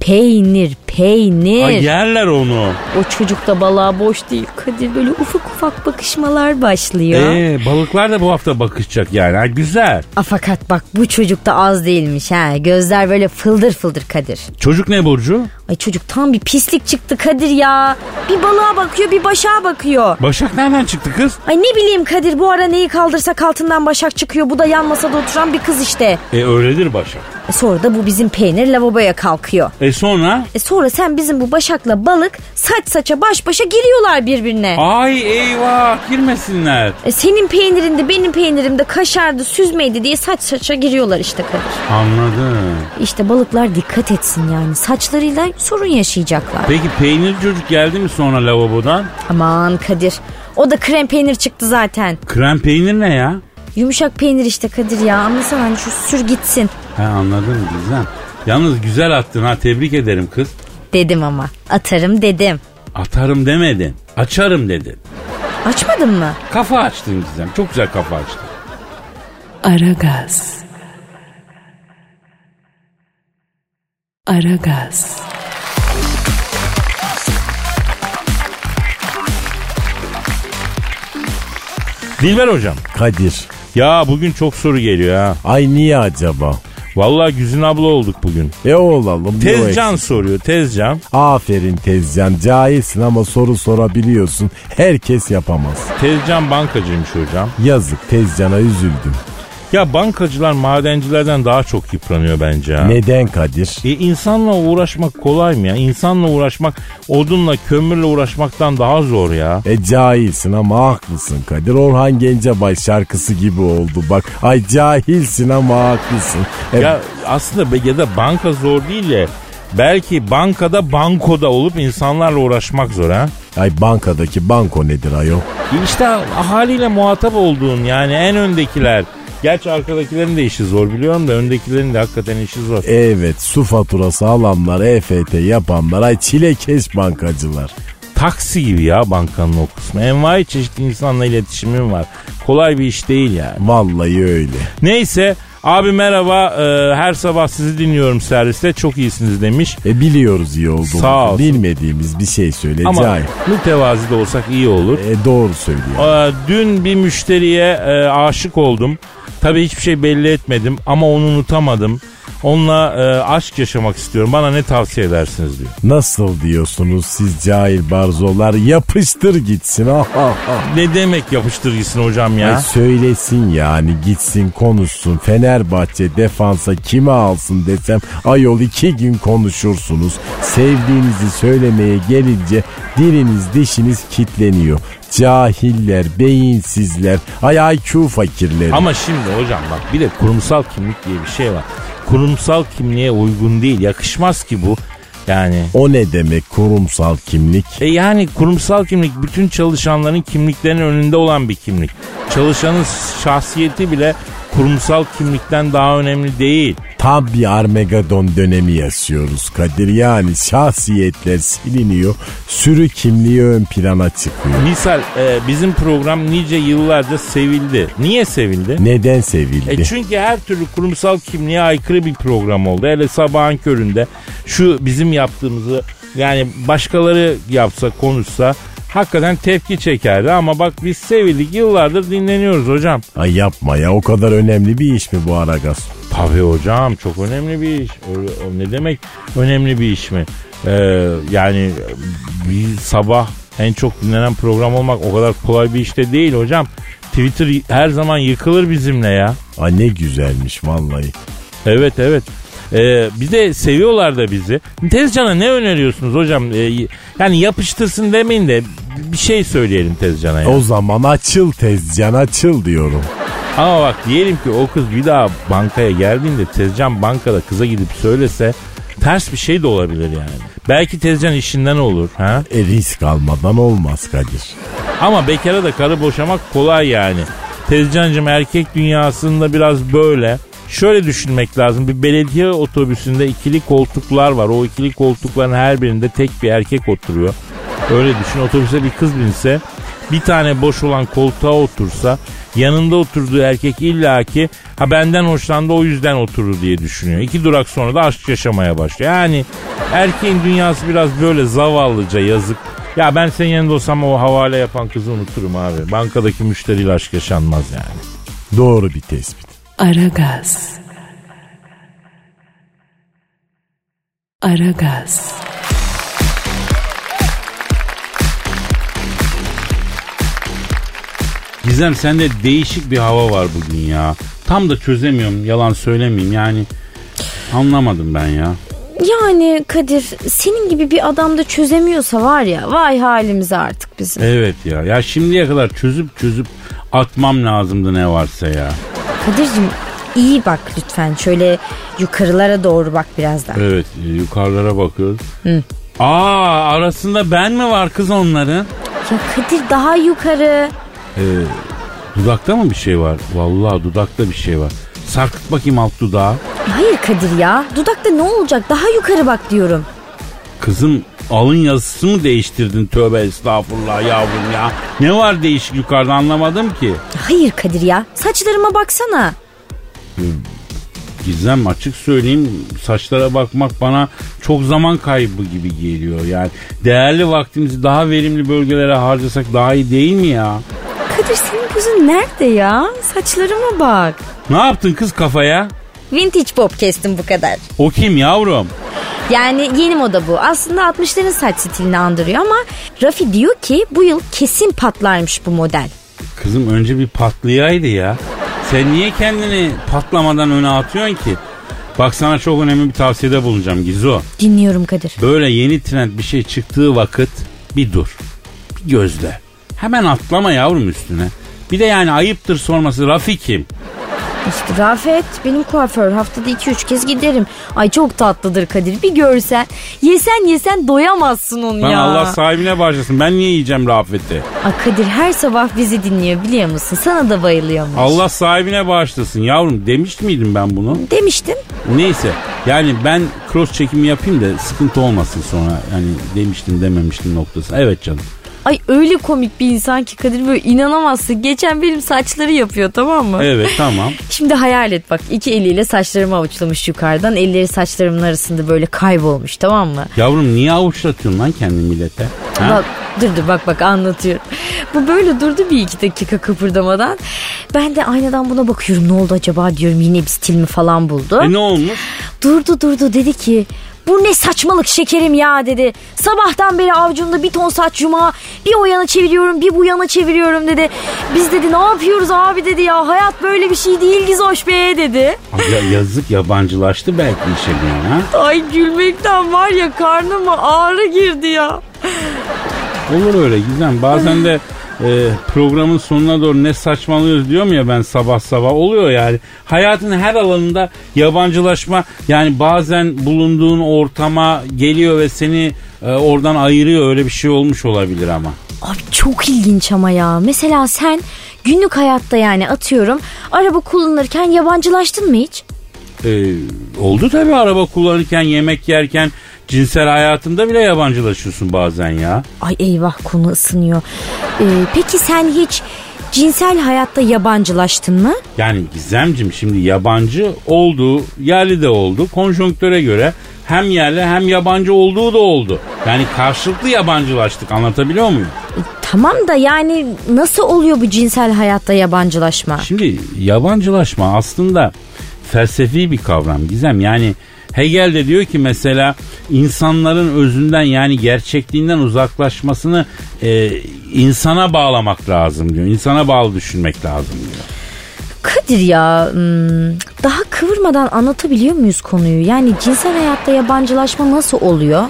Peynir, peynir.
Ay, yerler onu.
O çocuk da balığa boş değil. Kadir böyle ufak ufak bakışmalar başlıyor.
Ee?
E, balıklar da bu hafta bakışacak yani. Ha, güzel.
A fakat bak bu çocuk da az değilmiş ha. Gözler böyle fıldır fıldır Kadir.
Çocuk ne Burcu?
Ay çocuk tam bir pislik çıktı Kadir ya. Bir balığa bakıyor bir başağa bakıyor.
Başak nereden çıktı kız?
Ay ne bileyim Kadir bu ara neyi kaldırsak altından başak çıkıyor. Bu da yan masada oturan bir kız işte.
E öyledir Başak.
E sonra da bu bizim peynir lavaboya kalkıyor.
E sonra?
E sonra sen bizim bu başakla balık saç saça baş başa giriyorlar birbirine.
Ay eyvah girmesinler.
E senin peynirinde benim peynirimde kaşardı süzmeydi diye saç saça giriyorlar işte Kadir.
Anladım.
İşte balıklar dikkat etsin yani saçlarıyla sorun yaşayacaklar.
Peki peynir çocuk geldi mi sonra lavabodan?
Aman Kadir o da krem peynir çıktı zaten.
Krem peynir ne ya?
Yumuşak peynir işte Kadir ya anlasana hani şu sür gitsin
He anladım Gizem. Yalnız güzel attın ha tebrik ederim kız.
dedim ama atarım dedim.
Atarım demedin. Açarım dedin.
Açmadın mı?
Kafa açtın Gizem. Çok güzel kafa açtın.
Aragaz. Aragaz.
Dilber hocam.
Kadir.
Ya bugün çok soru geliyor ha.
Ay niye acaba?
Vallahi Güzin abla olduk bugün.
E olalım.
Tezcan soruyor Tezcan.
Aferin Tezcan. Cahilsin ama soru sorabiliyorsun. Herkes yapamaz.
Tezcan bankacıymış hocam.
Yazık Tezcan'a üzüldüm.
Ya bankacılar madencilerden daha çok yıpranıyor bence ha.
Neden Kadir?
E insanla uğraşmak kolay mı ya? İnsanla uğraşmak odunla kömürle uğraşmaktan daha zor ya.
E cahilsin ama haklısın Kadir. Orhan Gencebay şarkısı gibi oldu bak. Ay cahilsin ama haklısın. E,
Ya aslında be- ya da banka zor değil de belki bankada bankoda olup insanlarla uğraşmak zor ha.
Ay bankadaki banko nedir ayol?
E İşte ahaliyle muhatap olduğun yani en öndekiler. Gerçi arkadakilerin de işi zor biliyorum da öndekilerin de hakikaten işi zor.
Evet su faturası alanlar, EFT yapanlar, ay çilekeş bankacılar.
Taksi gibi ya bankanın o kısmı. Envai çeşitli insanla iletişimim var. Kolay bir iş değil yani.
Vallahi öyle.
Neyse abi merhaba e, her sabah sizi dinliyorum serviste çok iyisiniz demiş.
E biliyoruz iyi olduğumuzu.
Sağ olsun.
Bilmediğimiz bir şey söyle
Ama
cahil.
mütevazi de olsak iyi olur.
E, doğru söylüyor.
Ee, dün bir müşteriye e, aşık oldum. Tabii hiçbir şey belli etmedim ama onu unutamadım. Onunla e, aşk yaşamak istiyorum. Bana ne tavsiye edersiniz diyor.
Nasıl diyorsunuz siz cahil barzolar yapıştır gitsin. Ah, ah, ah.
Ne demek yapıştırgısın hocam ya?
Ay söylesin yani gitsin konuşsun Fenerbahçe defansa kime alsın desem ayol iki gün konuşursunuz. Sevdiğinizi söylemeye gelince diliniz dişiniz kitleniyor. Cahiller, beyinsizler, ay IQ fakirleri.
Ama şimdi hocam bak bir de kurumsal kimlik diye bir şey var. Kurumsal kimliğe uygun değil. Yakışmaz ki bu. Yani
O ne demek kurumsal kimlik?
E yani kurumsal kimlik bütün çalışanların kimliklerinin önünde olan bir kimlik. Çalışanın şahsiyeti bile kurumsal kimlikten daha önemli değil.
Tam bir Armageddon dönemi yaşıyoruz Kadir. Yani şahsiyetler siliniyor, sürü kimliği ön plana çıkıyor.
Misal e, bizim program nice yıllarca sevildi. Niye sevildi?
Neden sevildi?
E çünkü her türlü kurumsal kimliğe aykırı bir program oldu. Hele sabahın köründe şu bizim yaptığımızı yani başkaları yapsa konuşsa hakikaten tepki çekerdi. Ama bak biz sevildik yıllardır dinleniyoruz hocam.
Ay yapma ya o kadar önemli bir iş mi bu Aragaz?
Tabii hocam çok önemli bir iş. Öyle, o ne demek önemli bir iş mi? Ee, yani bir sabah en çok dinlenen program olmak o kadar kolay bir iş de değil hocam. Twitter her zaman yıkılır bizimle ya.
Aa, ne güzelmiş vallahi.
Evet evet. Ee, bir de seviyorlar da bizi. Tezcan'a ne öneriyorsunuz hocam? Ee, y- yani yapıştırsın demeyin de bir şey söyleyelim Tezcan'a. ya.
O zaman açıl tezcan açıl diyorum.
Ama bak diyelim ki o kız bir daha bankaya geldiğinde Tezcan bankada kıza gidip söylese ters bir şey de olabilir yani. Belki Tezcan işinden olur ha.
E, risk almadan olmaz Kadir.
Ama bekara da karı boşamak kolay yani. Tezcancım erkek dünyasında biraz böyle. Şöyle düşünmek lazım. Bir belediye otobüsünde ikili koltuklar var. O ikili koltukların her birinde tek bir erkek oturuyor. Öyle düşün. Otobüse bir kız binse bir tane boş olan koltuğa otursa yanında oturduğu erkek illaki ha benden hoşlandı o yüzden oturur diye düşünüyor. İki durak sonra da aşk yaşamaya başlıyor. Yani erkeğin dünyası biraz böyle zavallıca yazık. Ya ben senin yanında olsam o havale yapan kızı unuturum abi. Bankadaki müşteriyle aşk yaşanmaz yani.
Doğru bir tespit.
Aragaz. Aragaz.
Gizem sende değişik bir hava var bugün ya. Tam da çözemiyorum yalan söylemeyeyim yani. Anlamadım ben ya.
Yani Kadir senin gibi bir adam da çözemiyorsa var ya vay halimize artık bizim.
Evet ya. Ya şimdiye kadar çözüp çözüp atmam lazımdı ne varsa ya.
Kadir'cim iyi bak lütfen şöyle yukarılara doğru bak biraz da.
Evet e, yukarılara bakıyoruz. Aa arasında ben mi var kız onların?
Ya Kadir daha yukarı.
Dudakta mı bir şey var? Vallahi dudakta bir şey var. Sarkıt bakayım alt dudağı.
Hayır Kadir ya dudakta ne olacak daha yukarı bak diyorum.
Kızım alın yazısı mı değiştirdin tövbe estağfurullah yavrum ya. Ne var değişik yukarıda anlamadım ki.
Hayır Kadir ya saçlarıma baksana.
Gizem açık söyleyeyim saçlara bakmak bana çok zaman kaybı gibi geliyor yani. Değerli vaktimizi daha verimli bölgelere harcasak daha iyi değil mi ya?
Kadir senin gözün nerede ya? Saçlarıma bak.
Ne yaptın kız kafaya?
Vintage pop kestim bu kadar.
O kim yavrum?
Yani yeni moda bu. Aslında 60'ların saç stilini andırıyor ama Rafi diyor ki bu yıl kesin patlarmış bu model.
Kızım önce bir patlayaydı ya. Sen niye kendini patlamadan öne atıyorsun ki? Bak sana çok önemli bir tavsiyede bulunacağım Gizo.
Dinliyorum Kadir.
Böyle yeni trend bir şey çıktığı vakit bir dur. Bir gözle. Hemen atlama yavrum üstüne. Bir de yani ayıptır sorması Rafi kim?
İşte Rafet benim kuaför haftada 2-3 kez giderim. Ay çok tatlıdır Kadir bir görsen. Yesen yesen doyamazsın onu
Lan
ya.
Allah sahibine bağışlasın. Ben niye yiyeceğim Rafet'i?
Ay Kadir her sabah bizi dinliyor biliyor musun? Sana da bayılıyormuş.
Allah sahibine bağışlasın yavrum. Demiş miydim ben bunu?
Demiştin.
Neyse yani ben cross çekimi yapayım da sıkıntı olmasın sonra. Yani demiştim dememiştim noktası. Evet canım.
Ay öyle komik bir insan ki Kadir böyle inanamazsın. Geçen benim saçları yapıyor tamam mı?
Evet tamam.
Şimdi hayal et bak iki eliyle saçlarımı avuçlamış yukarıdan. Elleri saçlarımın arasında böyle kaybolmuş tamam mı?
Yavrum niye avuçlatıyorsun lan kendini millete? Ha?
Bak dur dur bak bak anlatıyorum. Bu böyle durdu bir iki dakika kıpırdamadan. Ben de aynadan buna bakıyorum ne oldu acaba diyorum yine bir stil mi falan buldu.
E ne olmuş?
Durdu durdu dedi ki bu ne saçmalık şekerim ya dedi. Sabahtan beri avcumda bir ton saç yuma bir o yana çeviriyorum bir bu yana çeviriyorum dedi. Biz dedi ne yapıyoruz abi dedi ya hayat böyle bir şey değil Gizoş be dedi.
Ay Ya, yazık yabancılaştı belki işe bir ha.
Ay gülmekten var ya karnıma ağrı girdi ya.
Olur öyle Gizem. Bazen de e, programın sonuna doğru ne saçmalıyoruz diyorum ya ben sabah sabah. Oluyor yani. Hayatın her alanında yabancılaşma yani bazen bulunduğun ortama geliyor ve seni e, oradan ayırıyor. Öyle bir şey olmuş olabilir ama.
Abi çok ilginç ama ya. Mesela sen günlük hayatta yani atıyorum araba kullanırken yabancılaştın mı hiç?
E, oldu tabii araba kullanırken, yemek yerken, cinsel hayatında bile yabancılaşıyorsun bazen ya.
Ay eyvah konu ısınıyor. Ee, peki sen hiç cinsel hayatta yabancılaştın mı?
Yani Gizemcim şimdi yabancı olduğu, yerli de oldu. Konjonktüre göre hem yerli hem yabancı olduğu da oldu. Yani karşılıklı yabancılaştık anlatabiliyor muyum?
E, tamam da yani nasıl oluyor bu cinsel hayatta yabancılaşma?
Şimdi yabancılaşma aslında felsefi bir kavram Gizem. Yani Hegel de diyor ki mesela insanların özünden yani gerçekliğinden uzaklaşmasını e, insana bağlamak lazım diyor. İnsana bağlı düşünmek lazım diyor.
Kadir ya hmm, daha kıvırmadan anlatabiliyor muyuz konuyu? Yani cinsel hayatta yabancılaşma nasıl oluyor?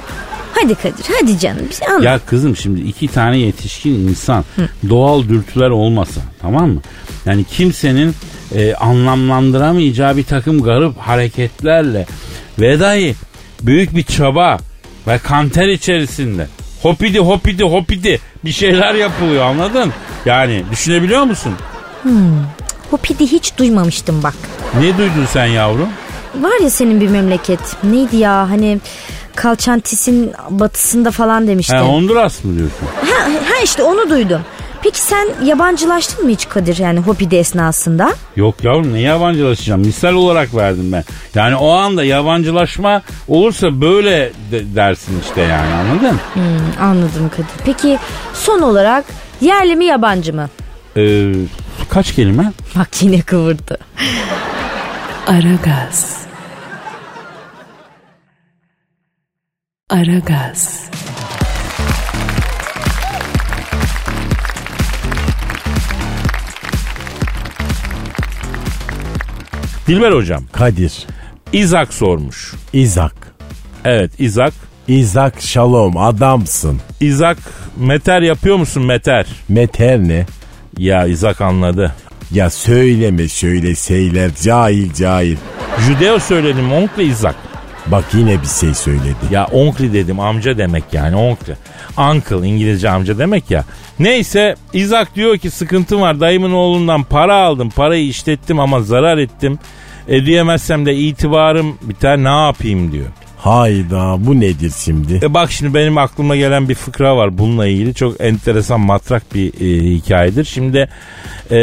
Hadi Kadir hadi canım bir anlat.
Ya kızım şimdi iki tane yetişkin insan doğal dürtüler olmasa tamam mı? Yani kimsenin e, anlamlandıramayacağı bir takım garip hareketlerle ve dahi büyük bir çaba ve kanter içerisinde hopidi hopidi hopidi bir şeyler yapılıyor anladın? Yani düşünebiliyor musun?
Hopidi hiç duymamıştım bak.
Ne duydun sen yavrum?
Var ya senin bir memleket neydi ya hani Kalçantis'in batısında falan demiştin.
Ha, Honduras mı diyorsun?
Ha, ha işte onu duydum. Peki sen yabancılaştın mı hiç Kadir yani Hopidi esnasında?
Yok yavrum ne yabancılaşacağım? Misal olarak verdim ben. Yani o anda yabancılaşma olursa böyle de- dersin işte yani anladın mı?
Hmm, anladım Kadir. Peki son olarak yerli mi yabancı mı?
Ee, kaç kelime?
Bak yine kıvırdı.
Aragaz. Aragaz.
Dilber hocam
Kadir,
İzak sormuş.
İzak.
Evet İzak.
İzak Şalom adamsın.
İzak meter yapıyor musun meter?
Meter ne?
Ya İzak anladı.
Ya söyleme şöyle şeyler cahil cahil.
Judeo söyledim onkli İzak.
Bak yine bir şey söyledi.
Ya onkli dedim amca demek yani onkli. Uncle İngilizce amca demek ya. Neyse İzak diyor ki sıkıntım var dayımın oğlundan para aldım parayı işlettim ama zarar ettim. Ödeyemezsem de itibarım biter ne yapayım diyor.
Hayda bu nedir şimdi?
E bak şimdi benim aklıma gelen bir fıkra var bununla ilgili. Çok enteresan matrak bir e, hikayedir. Şimdi e,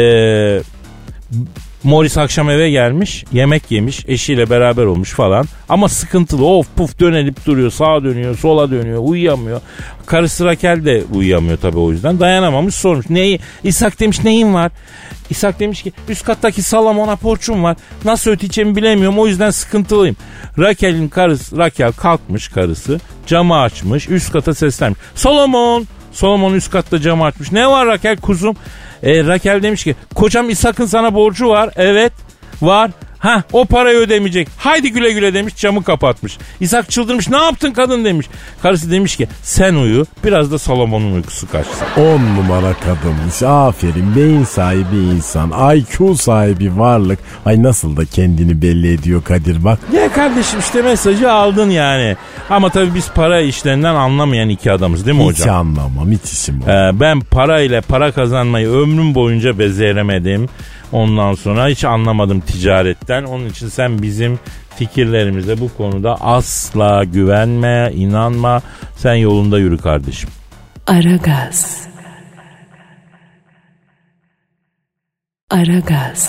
Morris akşam eve gelmiş. Yemek yemiş. Eşiyle beraber olmuş falan. Ama sıkıntılı. Of puf dönelip duruyor. Sağa dönüyor. Sola dönüyor. Uyuyamıyor. Karısı Rakel de uyuyamıyor tabii o yüzden. Dayanamamış sormuş. Neyi? İshak demiş neyin var? İshak demiş ki üst kattaki salamona porçum var. Nasıl öteceğimi bilemiyorum o yüzden sıkıntılıyım. Rakel'in karısı, Rakel kalkmış karısı. Camı açmış üst kata seslenmiş. Solomon! Solomon üst katta camı açmış. Ne var Rakel kuzum? E, Rakel demiş ki kocam İshak'ın sana borcu var. Evet var. Ha o parayı ödemeyecek. Haydi güle güle demiş camı kapatmış. İshak çıldırmış ne yaptın kadın demiş. Karısı demiş ki sen uyu biraz da Salomon'un uykusu kaçsın.
On numara kadınmış. Aferin beyin sahibi insan. IQ sahibi varlık. Ay nasıl da kendini belli ediyor Kadir bak.
Ya kardeşim işte mesajı aldın yani. Ama tabii biz para işlerinden anlamayan iki adamız değil mi
Hiç
hocam?
anlamam hiç işim yok.
Ee, ben para ile para kazanmayı ömrüm boyunca beceremedim. Ondan sonra hiç anlamadım ticaretten. Onun için sen bizim fikirlerimize bu konuda asla güvenme, inanma. Sen yolunda yürü kardeşim.
Aragaz. Aragaz.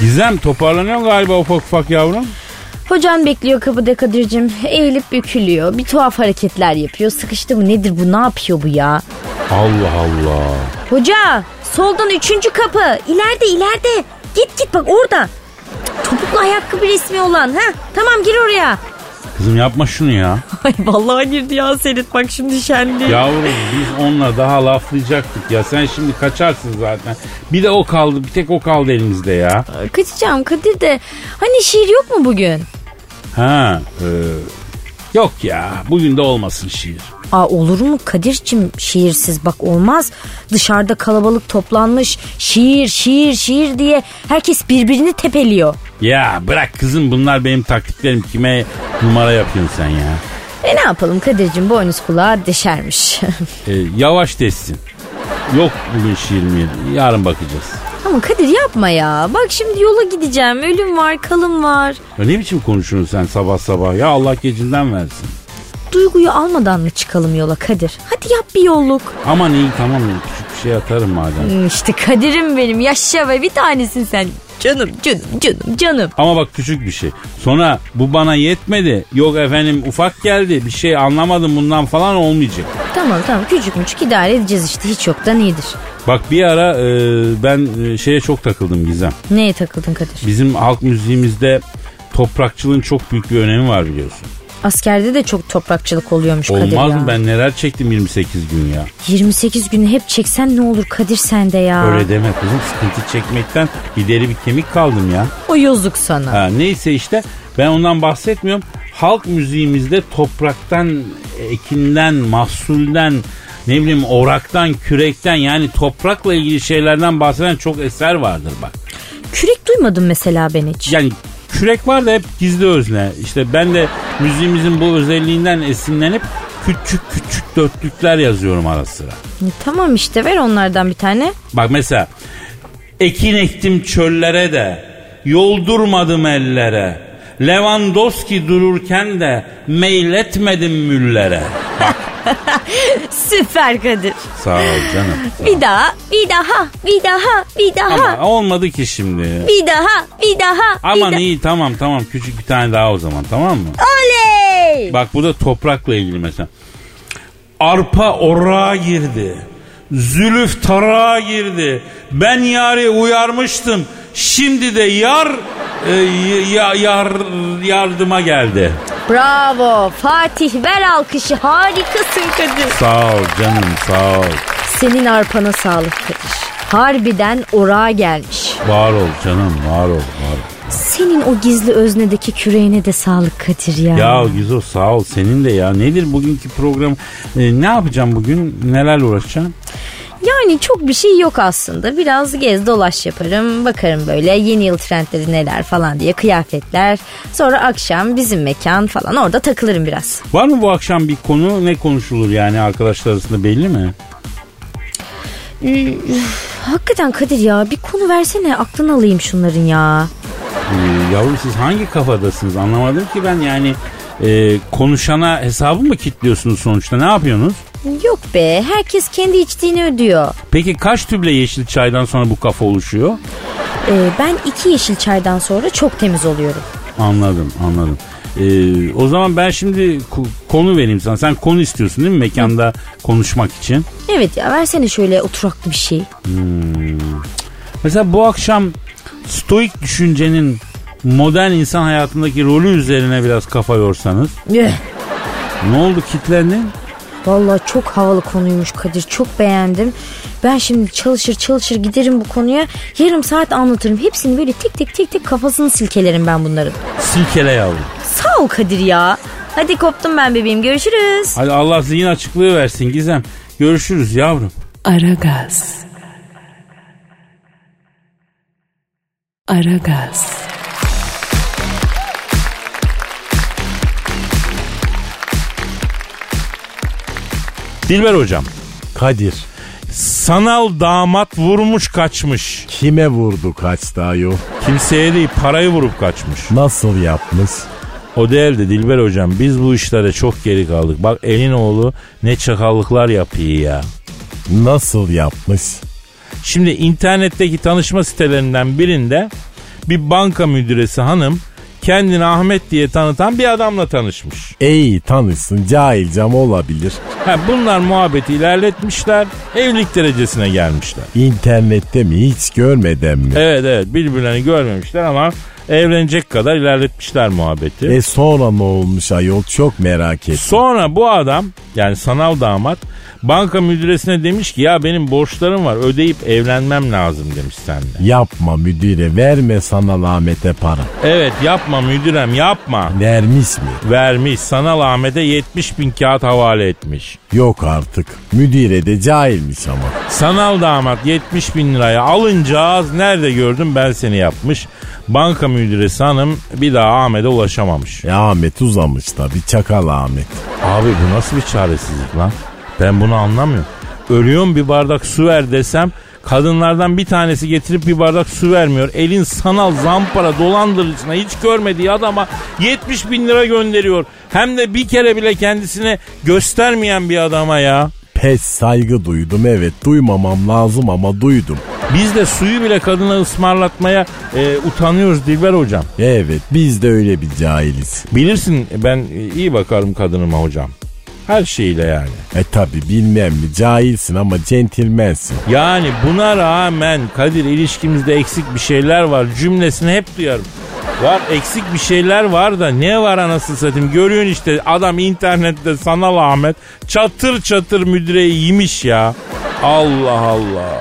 Gizem toparlanıyor galiba ufak ufak yavrum.
Hocam bekliyor kapıda Kadir'cim. Eğilip bükülüyor. Bir tuhaf hareketler yapıyor. Sıkıştı mı nedir bu ne yapıyor bu ya?
Allah Allah.
Hoca soldan üçüncü kapı. İleride ileride. Git git bak orada. Cık, Topuklu ayakkabı resmi olan. ha Tamam gir oraya.
Kızım yapma şunu ya.
Ay vallahi girdi ya Serit bak şimdi şenli.
Yavrum biz onunla daha laflayacaktık ya. Sen şimdi kaçarsın zaten. Bir de o kaldı. Bir tek o kaldı elimizde ya.
Kaçacağım Kadir de. Hani şiir yok mu bugün?
Ha. e, yok ya. Bugün de olmasın şiir.
Aa olur mu Kadir'cim şiirsiz bak olmaz. Dışarıda kalabalık toplanmış şiir şiir şiir diye herkes birbirini tepeliyor.
Ya bırak kızım bunlar benim taktiklerim. Kime numara yapıyorsun sen ya?
E ne yapalım Kadir'cim boynuz kulağa deşermiş.
E, yavaş desin. Yok bugün şiir mi? Yarın bakacağız.
Ama Kadir yapma ya. Bak şimdi yola gideceğim. Ölüm var, kalım var.
Ya ne biçim konuşuyorsun sen sabah sabah? Ya Allah gecinden versin.
Duyguyu almadan mı çıkalım yola Kadir? Hadi yap bir yolluk.
Aman iyi tamam küçük bir şey atarım madem.
Hmm, İşte Kadir'im benim. Yaşa be bir tanesin sen. Canım canım canım canım.
Ama bak küçük bir şey. Sonra bu bana yetmedi. Yok efendim ufak geldi. Bir şey anlamadım bundan falan olmayacak.
Tamam tamam küçük müçük idare edeceğiz işte hiç yoktan iyidir.
Bak bir ara e, ben e, şeye çok takıldım Gizem.
Neye takıldın Kadir?
Bizim halk müziğimizde toprakçılığın çok büyük bir önemi var biliyorsun.
Askerde de çok toprakçılık oluyormuş Kadir
Olmaz
ya.
mı? Ben neler çektim 28 gün ya.
28 günü hep çeksen ne olur Kadir sende ya.
Öyle deme kızım sıkıntı çekmekten bir deri bir kemik kaldım ya.
O yazık sana.
Ha, neyse işte ben ondan bahsetmiyorum. Halk müziğimizde topraktan, ekinden, mahsulden, ne bileyim oraktan, kürekten yani toprakla ilgili şeylerden bahseden çok eser vardır bak.
Kürek duymadın mesela ben hiç.
Yani kürek var da hep gizli özne. İşte ben de müziğimizin bu özelliğinden esinlenip küçük küçük dörtlükler yazıyorum ara sıra.
E, Tamam işte ver onlardan bir tane.
Bak mesela ekin ektim çöllere de yoldurmadım ellere. Lewandowski dururken de meyletmedim müllere.
Süper Kadir.
Sağ ol canım.
Bir daha, bir daha, bir daha, bir daha,
Ama olmadı ki şimdi.
bir daha, bir daha,
Aman
bir daha.
iyi tamam tamam küçük bir tane daha o zaman tamam mı?
Oley!
Bak bu da toprakla ilgili mesela. Arpa orağa girdi. Zülüf tarağa girdi. Ben yari uyarmıştım. Şimdi de yar e, ya- yar yardıma geldi.
Bravo Fatih ver alkışı harikasın Kadir.
Sağ ol canım sağ ol.
Senin arpana sağlık Kadir. Harbiden orağa gelmiş.
Var ol canım var ol var. ol.
Senin o gizli öznedeki küreğine de sağlık Kadir ya.
Ya Gizo sağ ol senin de ya. Nedir bugünkü program? E, ne yapacağım bugün? Neler uğraşacağım?
Yani çok bir şey yok aslında. Biraz gez dolaş yaparım. Bakarım böyle yeni yıl trendleri neler falan diye kıyafetler. Sonra akşam bizim mekan falan orada takılırım biraz.
Var mı bu akşam bir konu? Ne konuşulur yani arkadaşlar arasında belli mi?
Hakikaten Kadir ya bir konu versene aklını alayım şunların ya.
Ee, yavrum siz hangi kafadasınız anlamadım ki ben yani e, konuşana hesabı mı kilitliyorsunuz sonuçta ne yapıyorsunuz?
Yok be herkes kendi içtiğini ödüyor.
Peki kaç tüble yeşil çaydan sonra bu kafa oluşuyor?
Ee, ben iki yeşil çaydan sonra çok temiz oluyorum.
Anladım anladım. Ee, o zaman ben şimdi ku- konu vereyim sana. Sen konu istiyorsun değil mi mekanda konuşmak için?
Evet ya versene şöyle oturaklı bir şey.
Mesela bu akşam stoik düşüncenin modern insan hayatındaki rolü üzerine biraz kafa yorsanız.
Üh,
Ne oldu kitlendin?
Eh, Vallahi çok havalı konuymuş Kadir çok beğendim. Ben şimdi çalışır çalışır giderim bu konuya. Yarım saat anlatırım. Hepsini böyle tek tek tek tek kafasını silkelerim ben bunların.
Silkele yavrum.
Sağ ol Kadir ya. Hadi koptum ben bebeğim görüşürüz.
Hadi Allah zihin açıklığı versin Gizem. Görüşürüz yavrum.
Aragaz. Aragaz.
Dilber hocam.
Kadir
Sanal damat vurmuş kaçmış.
kime vurdu kaç daha yok?
Kimseye değil parayı vurup kaçmış.
Nasıl yapmış?
O değildi Dilber hocam. Biz bu işlere çok geri kaldık. Bak elin oğlu ne çakallıklar yapıyor ya.
Nasıl yapmış?
Şimdi internetteki tanışma sitelerinden birinde bir banka müdüresi hanım kendini Ahmet diye tanıtan bir adamla tanışmış.
İyi tanışsın cahil cam olabilir.
Ha, bunlar muhabbeti ilerletmişler. Evlilik derecesine gelmişler.
İnternette mi hiç görmeden mi?
Evet evet birbirlerini görmemişler ama evlenecek kadar ilerletmişler muhabbeti.
E sonra ne olmuş ayol çok merak ettim.
Sonra bu adam yani sanal damat banka müdüresine demiş ki ya benim borçlarım var ödeyip evlenmem lazım demiş seninle.
Yapma müdüre verme sana Ahmet'e para.
Evet yapma müdürem yapma.
Vermiş mi?
Vermiş sanal Ahmet'e 70 bin kağıt havale etmiş.
Yok artık. Müdüre de cahilmiş ama.
Sanal damat 70 bin liraya alınca az nerede gördüm ben seni yapmış. Banka müdüresi hanım bir daha Ahmet'e ulaşamamış.
E Ahmet uzamış tabi çakal Ahmet.
Abi bu nasıl bir çaresizlik lan? Ben bunu anlamıyorum. Ölüyorum bir bardak su ver desem kadınlardan bir tanesi getirip bir bardak su vermiyor. Elin sanal zampara dolandırıcısına hiç görmediği adama 70 bin lira gönderiyor. Hem de bir kere bile kendisine göstermeyen bir adama ya.
pes saygı duydum evet duymamam lazım ama duydum.
Biz de suyu bile kadına ısmarlatmaya e, utanıyoruz Dilber hocam.
Evet biz de öyle bir cahiliz.
Bilirsin ben e, iyi bakarım kadınıma hocam. Her şeyle yani.
E tabi bilmem mi cahilsin ama centilmensin.
Yani buna rağmen Kadir ilişkimizde eksik bir şeyler var cümlesini hep duyarım. Var eksik bir şeyler var da ne var anasını satayım görüyorsun işte adam internette sanal Ahmet çatır çatır müdüreyi yemiş ya. Allah Allah.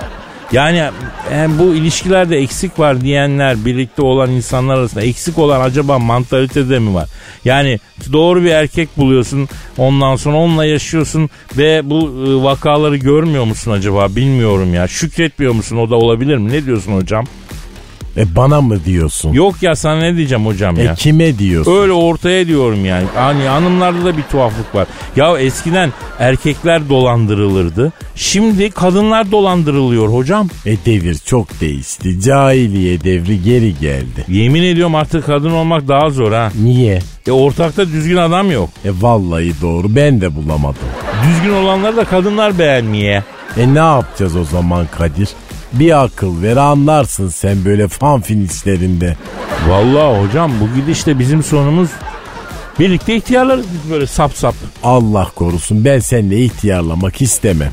Yani hem bu ilişkilerde eksik var diyenler birlikte olan insanlar arasında eksik olan acaba mantalitede mi var? Yani doğru bir erkek buluyorsun ondan sonra onunla yaşıyorsun ve bu e, vakaları görmüyor musun acaba bilmiyorum ya. Şükretmiyor musun o da olabilir mi? Ne diyorsun hocam?
E bana mı diyorsun?
Yok ya sana ne diyeceğim hocam ya?
E kime diyorsun?
Öyle ortaya diyorum yani. Hani hanımlarda da bir tuhaflık var. Ya eskiden erkekler dolandırılırdı. Şimdi kadınlar dolandırılıyor hocam.
E devir çok değişti. Cahiliye devri geri geldi.
Yemin ediyorum artık kadın olmak daha zor ha.
Niye?
E ortakta düzgün adam yok.
E vallahi doğru ben de bulamadım.
Düzgün olanları da kadınlar beğenmiyor.
E ne yapacağız o zaman Kadir? Bir akıl ver anlarsın sen böyle fan finişlerinde.
Vallahi hocam bu gidişte bizim sonumuz birlikte ihtiyarlarız biz böyle sap sap.
Allah korusun ben seninle ihtiyarlamak istemem.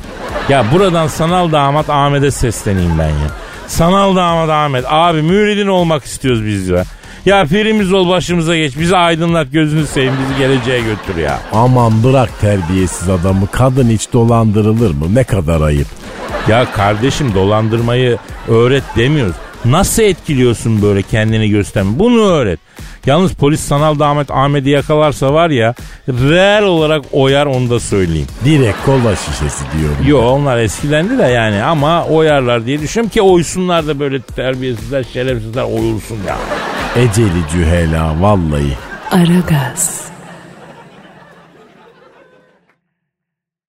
Ya buradan sanal damat Ahmet'e sesleneyim ben ya. Sanal damat Ahmet abi müridin olmak istiyoruz biz ya. Ya pirimiz ol başımıza geç bizi aydınlat gözünü seveyim bizi geleceğe götür ya.
Aman bırak terbiyesiz adamı kadın hiç dolandırılır mı ne kadar ayıp.
Ya kardeşim dolandırmayı öğret demiyoruz. Nasıl etkiliyorsun böyle kendini gösterme? Bunu öğret. Yalnız polis sanal damat Ahmet'i yakalarsa var ya reel olarak oyar onu da söyleyeyim.
Direkt kola şişesi diyorum.
Yo onlar eskilendi de yani ama oyarlar diye düşünüyorum ki oysunlar da böyle terbiyesizler şerefsizler oyulsun ya.
Eceli cühela vallahi.
Aragaz.